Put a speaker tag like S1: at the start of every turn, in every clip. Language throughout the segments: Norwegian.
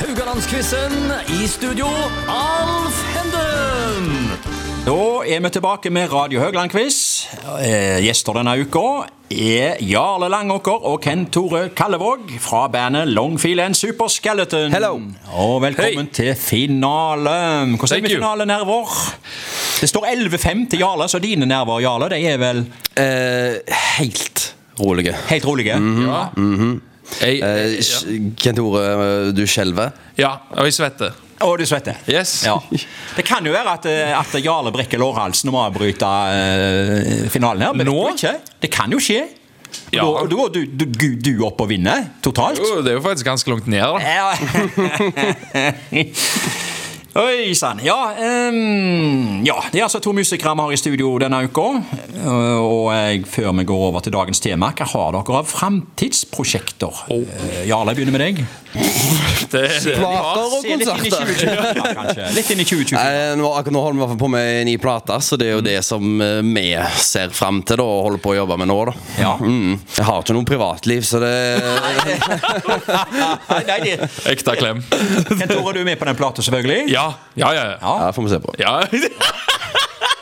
S1: Rogalandsquizen i studio, Alf Henden!
S2: Da er vi tilbake med Radio Høgland-quiz. Eh, Gjester denne uka er Jarle Langåker og Ken Tore Kallevåg fra bandet Longfeel and Super Skeleton.
S3: Hello.
S2: Og velkommen
S1: Hei.
S2: til finale. Hvordan
S1: Thank
S2: er vi
S1: you.
S2: finalenerver? Det står 11-5 til Jarle, så dine nerver, Jarle, de er vel
S3: Eh, helt rolige.
S2: helt rolige?
S4: Ja. Jeg,
S3: Eh,
S4: ja.
S3: Kent Tore, eh, du skjelver.
S4: ja, og jeg svetter.
S2: Og du svetter?
S4: Yes.
S2: Ja. Det kan jo være at, eh, at Jarle brekker lårhalsen og må avbryte eh, finalen her. Men
S4: Nå?
S2: vet du ikke. det kan jo skje.
S4: Ja.
S2: Og da går du, du, du, du opp og vinner totalt.
S4: Jo, Oh, det er jo faktisk ganske langt ned, da.
S2: Ja. Oi sann. Ja, ehm, ja, det er altså to musikere vi har i studio denne uka. Eh, Og jeg, før vi går over til dagens tema, hva har dere av framtidsprosjekter? Eh, Jarle, jeg begynner med deg.
S4: Det, det.
S3: Plater og
S2: Se litt inn i
S3: konserter.
S2: 2020, kanskje. Litt inn i 2020.
S3: Nei, Eh, nå, akkurat nå holder vi i hvert fall på med en ny plate,
S4: Mm.
S3: så det er jo det som eh, vi ser fram til da, og holder på å jobbe med nå. da
S2: Ja.
S3: mm. Jeg har ikke noe privatliv, så det
S2: Nei, nei, det-
S4: Ekte klem.
S2: Kent Tore, du er med på den plata, selvfølgelig.
S4: Ja, ja, ja. ja.
S3: ja, får vi se på.
S4: ja.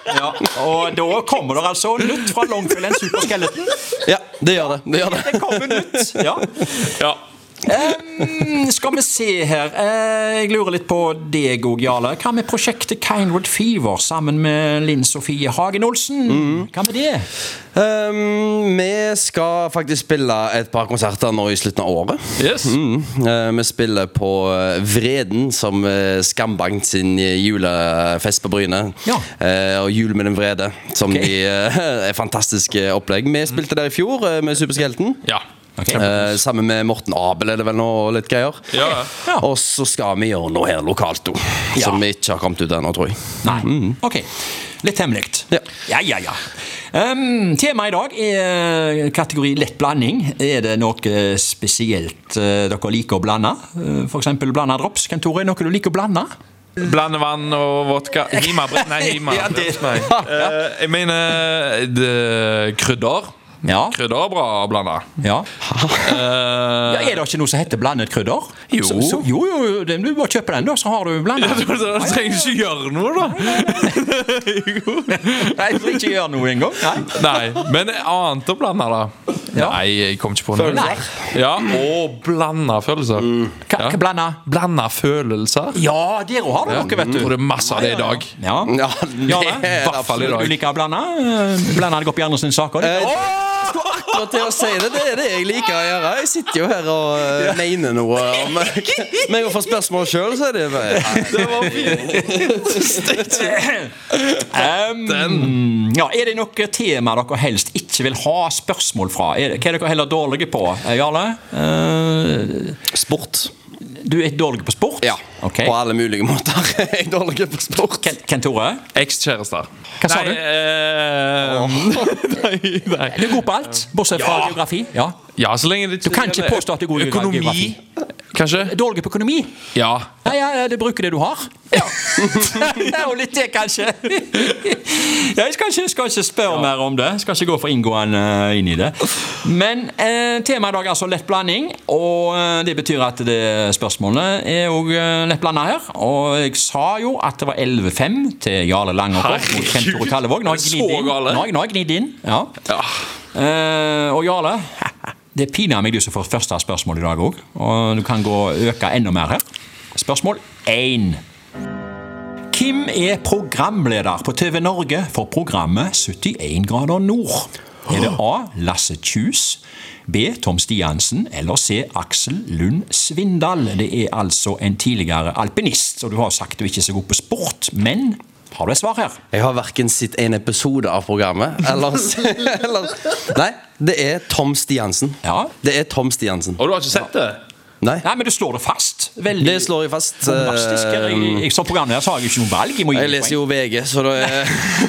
S2: Ja, Og da kommer det altså nytt fra Longfield and Super Skeleton.
S3: Ja, det gjør det. det, gjør det.
S2: Det kommer nytt. Ja.
S4: ja.
S2: Ehm, skal vi se her Eh, Jeg lurer litt på deg òg, Jarle. Hva med prosjektet Kindred Fever sammen med Linn Sofie Hagen Olsen? Hva med det?
S3: Ehm, vi skal faktisk spille et par konserter nå i slutten av året.
S4: Yes.
S3: Mm. Eh, Vi spiller på eh, Vreden, som eh, Skambank sin eh, julefest på Bryne.
S2: Ja.
S3: Eh, Og Jul med den vrede, som de, eh, er fantastiske opplegg. Vi spilte der i fjor eh, med Superskelten.
S4: ja.
S3: Eh, sammen med Morten Abel er det vel nå, og litt greier.
S4: Ja, ja.
S2: Ja.
S3: Og så skal vi gjøre noe her lokalt òg,
S2: Ja.
S3: som vi ikke har kommet ut ennå, tror jeg.
S2: Nei. Ok. Litt hemmelig.
S3: Ja.
S2: ja, ja. ja. Ehm, temaet i dag er eh, kategori lett blanding. Er det noe eh, spesielt eh, dere liker å blande? Eh, For eksempel blanda drops. Kent Tore, er det noe du liker å blande?
S4: Blande vann og vodka. Hima, bre- nei, hima.
S2: Ja, det-
S4: Nei. Eh, jeg mener det, krydder.
S2: Ja.
S4: Krydder er bra å blande.
S2: ja.
S4: Eh,
S2: Ja, er det ikke noe som heter blandet krydder?
S4: Jo.
S2: Så, så, jo, jo, jo, det- du bare kjøper den, da, så har du
S4: ja,
S2: blandet.
S4: du du trenger ikke gjøre noe, da.
S2: Nei, for ikke gjør noe engang. Nei.
S4: Nei, men annet å blande, da?
S2: Ja.
S4: Nei, jeg kom ikke på noe.
S2: Nei.
S4: Ja, og blande følelser.
S2: Hva, hva blanda?
S4: Blande følelser.
S2: Ja, der òg har du noe, vet
S4: Jeg tror
S2: du.
S4: det er masse av det i dag.
S2: Ja.
S3: Ja,
S2: Ja,
S3: det
S2: det
S4: i
S3: er
S4: hvert fall i
S3: absolutt.
S4: dag.
S2: Du liker å blande? Eh, Blande deg opp i andre sine saker?
S3: Eh,
S2: du?
S3: jeg skulle akkurat til å si det. Det er det jeg liker å gjøre. Jeg sitter jo her og eh, mener noe. Om, men jeg får spørsmål sjøl, så er det bare
S2: Ehm, ja, er det noe tema dere helst ikke vil ha spørsmål fra? Er det, hva er dere heller dårlige på, eh, Jarle? Eh,
S3: sport.
S2: du er dårlig på sport?
S3: Ja.
S2: Ok.
S3: På alle mulige måter. Jeg er dårlig på sport.
S2: Ken- Kent Tore?
S4: Ekskjærester.
S2: Hva sa
S4: nei,
S2: du?
S4: Eh, nei,
S2: Du
S4: nei.
S2: er god på alt, bortsett fra geografi. Ja.
S4: Ja, så lenge det
S2: Du kan ikke
S4: gjelder
S2: påstå at du er god i
S4: økonomi.
S2: geografi.
S4: Kanskje?
S2: Dårlig på økonomi?
S4: Ja.
S2: Nei, ja, ja, du bruker det du har. Ja. og litt det, kanskje. Ja, jeg skal ikke, skal ikke spørre mer om det. Skal ikke gå for inngående eh, inn i det. Men eh, temaet i dag er altså lett blanding, og eh, det betyr at det spørsmålet er òg eh, lett blanda her. Og jeg sa jo at det var 11-5 til Jarle Langåker mot Kent Tore Kallevåg. Nå har jeg
S4: Så
S2: gnidd inn.
S4: gale.
S2: Nå har jeg- nå har jeg gnidd inn. Ja.
S4: ja.
S2: Eh, og Jarle, det piner meg du som får første spørsmål i dag òg. Og du kan gå og øke enda mer her. Spørsmål én. Hvem er programleder på TV Norge for programmet 71 grader nord? Er det A. Lasse Kjus, B. Tom Stiansen eller C. Aksel Lund Svindal? Det er altså en tidligere alpinist, og du har sagt du ikke er så god på sport, men har du et svar her?
S3: Jeg har verken sett en episode av programmet eller, eller Nei, det er Tom Stiansen.
S2: Ja.
S3: Det er Tom Stiansen.
S4: Og du har ikke sett det?
S3: Nei,
S2: Nei, men du slår det fast. Veldig
S3: det slår jeg fast.
S2: Fantastisk. Jeg,
S3: Eh,
S2: jeg, jeg, som programleder så har jeg jo ikke noe valg. Jeg må gi
S3: Jeg
S2: deg
S3: leser jo VG, så det er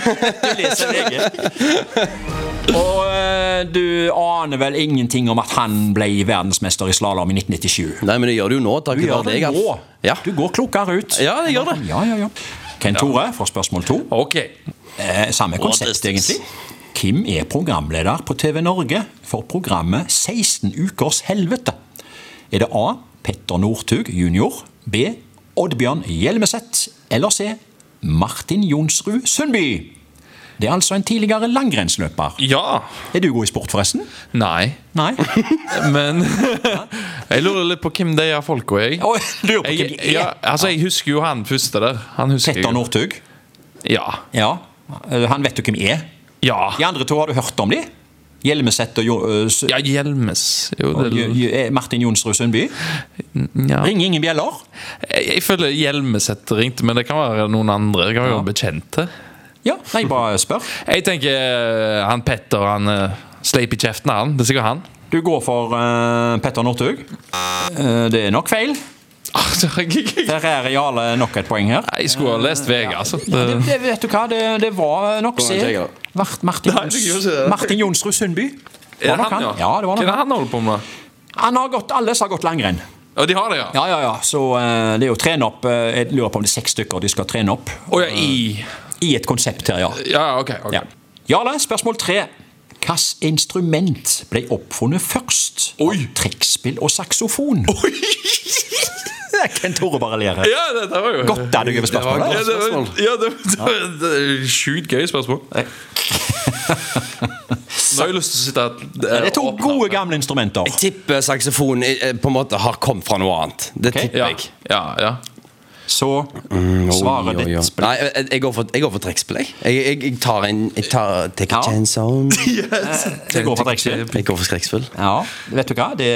S2: poeng. Du leser VG. Og eh, du aner vel ingenting om at han ble verdensmester i slalåm i 1997?
S3: Nei, men det gjør det jo nå. Takk
S2: Du gjør det
S3: Alf.
S2: nå.
S3: Ja.
S2: Du går klokere ut.
S3: ja, jeg gjør det.
S2: Ja, ja, ja. Ken Tore får spørsmål to.
S4: Ok.
S2: Eh, samme konsept,
S3: Oddestes.
S2: egentlig. Kim er programleder på TV Norge for programmet 16 ukers helvete. Er det A. Petter Northug jr., B. Oddbjørn Hjelmeset. Eller C. Martin Jonsrud Sundby. Det er altså en tidligere langrennsløper.
S4: Ja.
S2: Er du god i sport, forresten?
S4: Nei.
S2: Nei?
S4: Men jeg lurer litt på hvem de er folka, jeg.
S2: Oi, lurer på hvem
S4: jeg,
S2: de er.
S4: ja, altså, jeg husker jo han første der. Han husker
S2: Petter
S4: jeg. jo.
S2: Northug.
S4: Ja.
S2: Ja. Eh, Han vet jo hvem er.
S4: Ja.
S2: De andre to, har du hørt om de? Hjelmeset og jo, eh, Sø-
S4: ja, Hjelmes. Jo, det,
S2: Jo- Jo- eh, Martin Jonsrud Sundby.
S4: ja.
S2: Ringer ingen bjeller.
S4: Jeg, jeg føler Hjelmeset ringte, men det kan være noen andre. Det kan være bekjente.
S2: Ja, nei, bare spør.
S4: Jeg tenker eh, han Petter, han eh, sleip i kjeften, han. Det er sikkert han.
S2: Du går for eh, Petter Northug. Eh, det er nok feil.
S4: Altså, jeg-
S2: Der er Jarle nok et poeng her.
S4: Jeg skulle ha lest VG, altså.
S2: Ja, det,
S4: Det-
S2: det, vet du hva, det, det var nok
S3: Kom
S2: C.
S3: igjen, Tiger.
S2: Vart Martin,
S4: Nei, jeg gjorde ikke
S2: Jons,
S4: det.
S2: Martin Jonsrud Sundby.
S4: Er det
S2: Var nok
S4: han, ja?
S2: Ja, det
S4: Hva er
S2: var nok
S4: det
S2: han.
S4: han holder på med?
S2: han har gått, alle som har gått langrenn.
S4: Ja, de har det, ja.
S2: Ja, ja, ja. Så eh, det er jo å trene opp eh, Jeg lurer på om det er seks stykker de skal trene opp.
S4: Å ja, i
S2: I et konsept her, ja.
S4: Ja, ok. ok.
S2: ja. Jarle, spørsmål tre. Hvilket instrument ble oppfunnet først?
S4: Oi.
S2: Trekkspill og saksofon. Ken Tore bare ler her.
S4: Ja, dette var jo
S2: Godt er du over spørsmålet. altså.
S4: Ja, det var,
S3: spørsmål.
S4: ja, det var, det var, det var sjukt gøy spørsmål. Nå har jeg lyst til å sitte her eh,
S2: Ja, Det er to gode, gamle instrumenter.
S3: Jeg tipper saksofon eh, på en måte har kommet fra noe annet. Det
S2: Ok.
S3: tipper
S4: Ja,
S3: jeg.
S4: ja, ja.
S2: Så
S3: Mm, Oi,
S2: svaret
S3: oi, oi.
S2: ditt
S3: Nei, jeg, jeg går for, jeg går for trekkspill, jeg. Jeg, jeg. jeg tar en jeg tar, Take
S2: Ja.
S3: a chance on.
S2: Det går for trekkspill.
S3: Jeg går for skrekkspill.
S2: Ja, vet du hva? Det,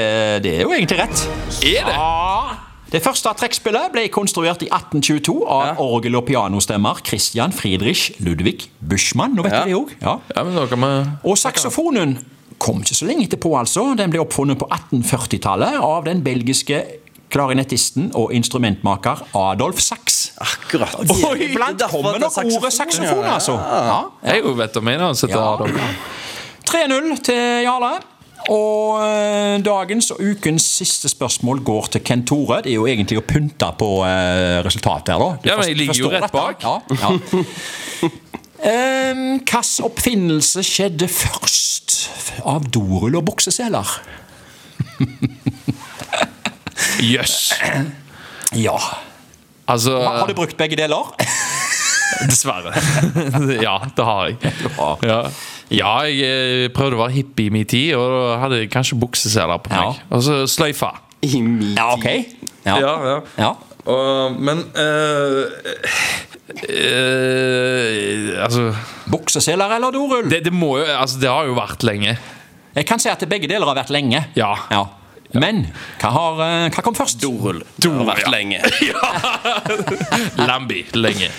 S2: det er jo egentlig rett.
S4: Er det?
S2: Ah. Det første trekkspillet ble konstruert i 1822 av orgel- og pianostemmer Christian Friedrich Ludvig Buschmann. Nå vet
S3: Ja.
S2: du det òg. Ja.
S4: Ja, men da kan vi
S2: Og saksofonen kom ikke så lenge etterpå, altså. Den ble oppfunnet på 1840-tallet av den belgiske klarinettisten og instrumentmaker Adolf Sachs.
S3: Akkurat.
S2: Oi,
S3: Det
S2: Iblant
S3: er derfor
S2: kommer
S3: at
S2: nok
S3: det er
S2: ordet saksofon, altså. Ja.
S4: Jeg jo vet om en annen sitter
S2: Ja.
S4: her. da.
S2: 3-0 til Jarle. Og eh, dagens og ukens siste spørsmål går til Kent Tore. Det er jo egentlig å pynte på eh, resultatet her, da. Du
S4: Ja, men jeg
S2: forst-
S4: ligger jo
S2: forstår
S4: rett
S2: dette.
S4: bak.
S2: Ja, ja. Em, Hvilken oppfinnelse skjedde først av dorull og bukseseler?
S4: Jøss.
S2: Ja.
S4: Altså
S2: Har du brukt begge deler?
S4: Dessverre. ja, det har jeg.
S2: Ja.
S4: Ja. ja, jeg eh, prøvde å være hippie i min tid, og da hadde jeg kanskje bukseseler på meg.
S2: Ja.
S4: Og så sløyfa.
S3: I min
S2: Ja, ok. Ja.
S4: Ja, ja.
S2: Ja.
S4: Og- men eh, eh, Altså
S2: Bukseseler eller dorull?
S4: det, det må jo Altså, det har jo vært lenge.
S2: Jeg kan si at begge deler har vært lenge.
S4: Ja.
S2: Men hva, har, eh, hva kom først?
S3: dorull. Det har vært
S4: ja.
S3: lenge.
S4: Lambi. Lenge.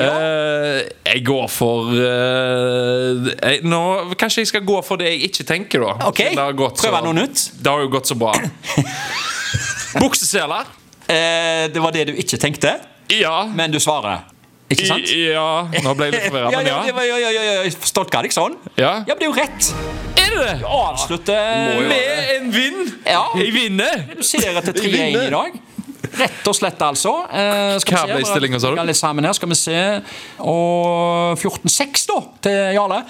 S4: Eh, jeg går for eh, jeg, nå, Kanskje jeg skal gå for det jeg ikke tenker, da.
S2: Ok,
S4: Siden det har gått
S2: prøv
S4: så-
S2: noe nytt.
S4: Det har jo gått så bra. Bukseseler.
S2: Eh, det var det du ikke tenkte,
S4: Ja.
S2: men du svarer. Ikke sant?
S4: I, ja. Nå ble jeg litt forvirra, men
S2: det
S4: ja.
S2: var- ja, ja, ja, ja, jeg Stolka deg sånn?
S4: Ja.
S2: men det er jo rett.
S4: Er det det?
S2: Avslutte med
S4: Med en vinn!
S2: Ja.
S4: Jeg vinner!
S2: Du ser etter 3-1 i dag. Rett og slett, altså. Eh,
S4: Hva ble stillingen, sa du?
S2: Skal litt sammen her, skal vi se. Og 14-6, da, til Jarle.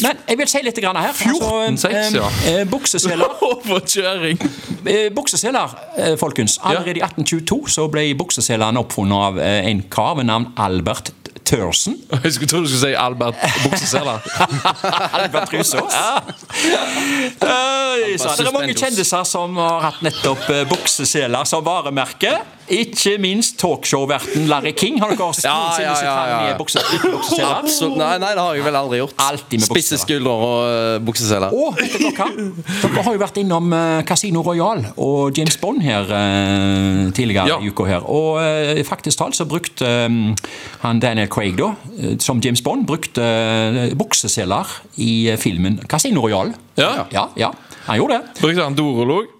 S2: Men jeg vil si litt grann her. Altså,
S4: 14-6, ja.
S2: eh, bukseseler
S4: Overkjøring.
S2: Eh, Bukseseler, eh, folkens. Allerede i 1822 så ble bukseselene oppfunnet av eh, en kar ved navn Albert Thørsen.
S4: Jeg skulle tro du skulle si Albert Bukseseler.
S2: Albert Trusås. Eh, så det er mange kjendiser som har hatt nettopp eh, bukseseler som varemerke. Ikke minst talkshow-verten Larry King. Har dere
S3: Ja,
S2: noensinne
S3: ja,
S2: sett
S3: ja,
S2: han
S3: ja.
S2: med bukse- uten bukseseler?
S3: Absolutt. Nei, nei, det har jeg vel aldri gjort.
S2: Alltid med
S3: Spisse
S2: bukseseler.
S3: skuldre og eh, bukseseler.
S2: Og vet dere hva? Dere har jo vært innom eh, Casino Royal og James Bond her eh, tidligere
S4: Ja.
S2: i uka. her. Og eh, faktisk talt så brukte eh, han Daniel Craig, da, eh, som James Bond, brukte eh, bukseseler i eh, filmen Casino Royal.
S4: Ja.
S2: ja, ja. Han gjorde det.
S4: Brukte han dorolog?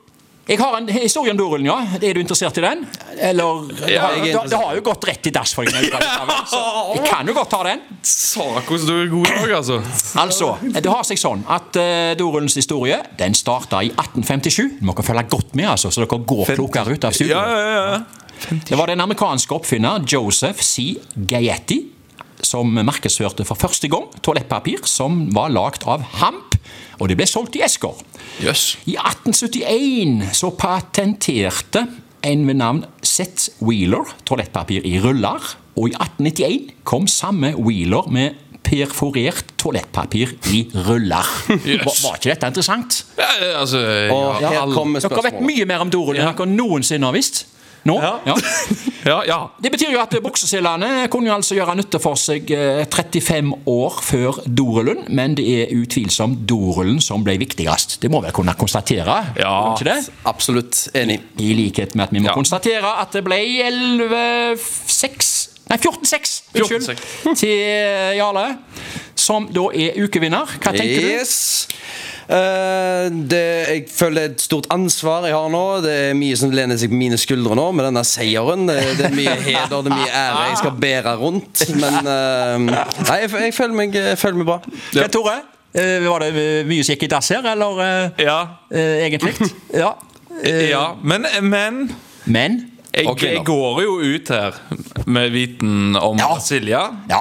S2: Jeg har en historie om dorullen, ja. Er du interessert i den? Eller Det har,
S3: jeg er
S2: det, det har jo gått rett i dass for deg. når du kan ta den, så Jeg kan jo godt ta den.
S4: Sakos, du er god i dag, altså.
S2: Altså, det har seg sånn at eh, dorullens historie den starta i 1857. Dere følge godt med, altså, så dere går klokere ut av studio.
S4: Ja, ja, ja.
S2: Det var den amerikanske oppfinner Joseph C. Gayetti som markedsførte for første gang toalettpapir som var lagd av hamp, og det ble solgt i esker.
S4: Jøss.
S2: I 1871 så patenterte en ved navn Sett Wheeler toalettpapir i ruller, og i 1891 kom samme Wheeler med perforert toalettpapir i ruller. Var, var ikke dette interessant?
S4: Ja, altså
S3: Og
S4: ja,
S3: her
S4: all-
S3: kommer
S2: Dere vet
S3: spørsmålet.
S2: mye mer om doruller enn dere noensinne har visst. Nå?
S4: Ja.
S2: Ja.
S4: ja, ja.
S2: Det betyr jo at bukseselene kunne jo altså gjøre nytte for seg eh, 35 år før Dorullen, men det er utvilsomt Dorullen som ble viktigst. Det må vi kunne konstatere?
S4: Ja.
S2: Ikke det?
S3: Absolutt enig.
S2: I likhet med at vi må
S4: Ja.
S2: konstatere at det ble 11-6 Nei, 14-6! Unnskyld.
S4: 14-6.
S2: Til eh, Jarle, som da er ukevinner. Hva tenker du?
S3: Yes. Eh, det, jeg føler et stort ansvar jeg har nå. Det er mye som lener seg på mine skuldre nå med denne seieren. Det, det er mye heder det er mye ære jeg skal bære rundt. Men eh, nei, jeg, jeg, føler meg, jeg føler meg bra.
S2: Ja. Tore, eh, var det eh, mye som gikk i dass her, eller eh,
S4: Ja.
S2: eh, egentlig? ja.
S4: ja. Men, men
S2: Men
S4: jeg,
S2: Og kvinner.
S4: jeg går jo ut her med viten om
S2: Ja.
S4: Silja.
S2: Ja.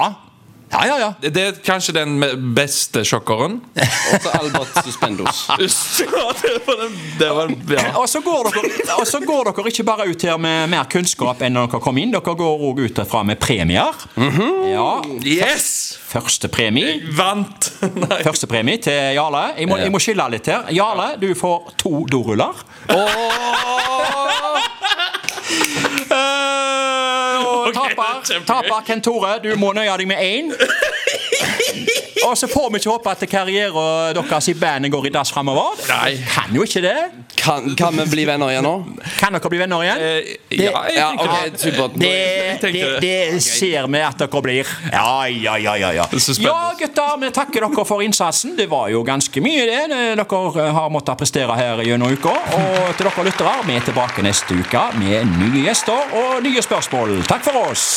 S2: Ja, ja, ja.
S4: Det er kanskje den beste sjokkeren.
S3: Og så Albert Suspendos.
S4: Ja, det var den, det var den ja.
S2: Og så, går dere, og så går dere ikke bare ut her med mer kunnskap enn når dere kom inn. Dere går òg ut herfra med premier.
S4: Mhm.
S2: Ja,
S4: Yes!
S2: Første premie
S4: Vant! Nei.
S2: Første premie til Jarle. Jeg må, jeg må skille litt her. Jarle, du får to doruller. Eh, og
S4: Ok,
S2: taper,
S4: kjempegøy.
S2: taper Kent Tore, du må nøye deg med én. Og så får vi ikke håpe at karrieren deres i bandet går i dass framover.
S4: Nei.
S2: Kan jo ikke det.
S3: Kan, kan vi bli venner igjen nå?
S2: Kan dere bli venner igjen?
S4: Eh, Ja, jeg
S3: Ja,
S4: tenker
S3: ok, supert.
S2: Det,
S4: tenkte
S2: det, det ser vi at dere blir. Ja, ja, ja. Ja, ja.
S4: er så spennende.
S2: ja gutter, vi takker dere for innsatsen. Det var jo ganske mye, det. det Dere eh, har måttet prestere her gjennom uka. Og til dere lyttere, vi er tilbake neste uke med nye gjester og nye spørsmål. Takk for oss.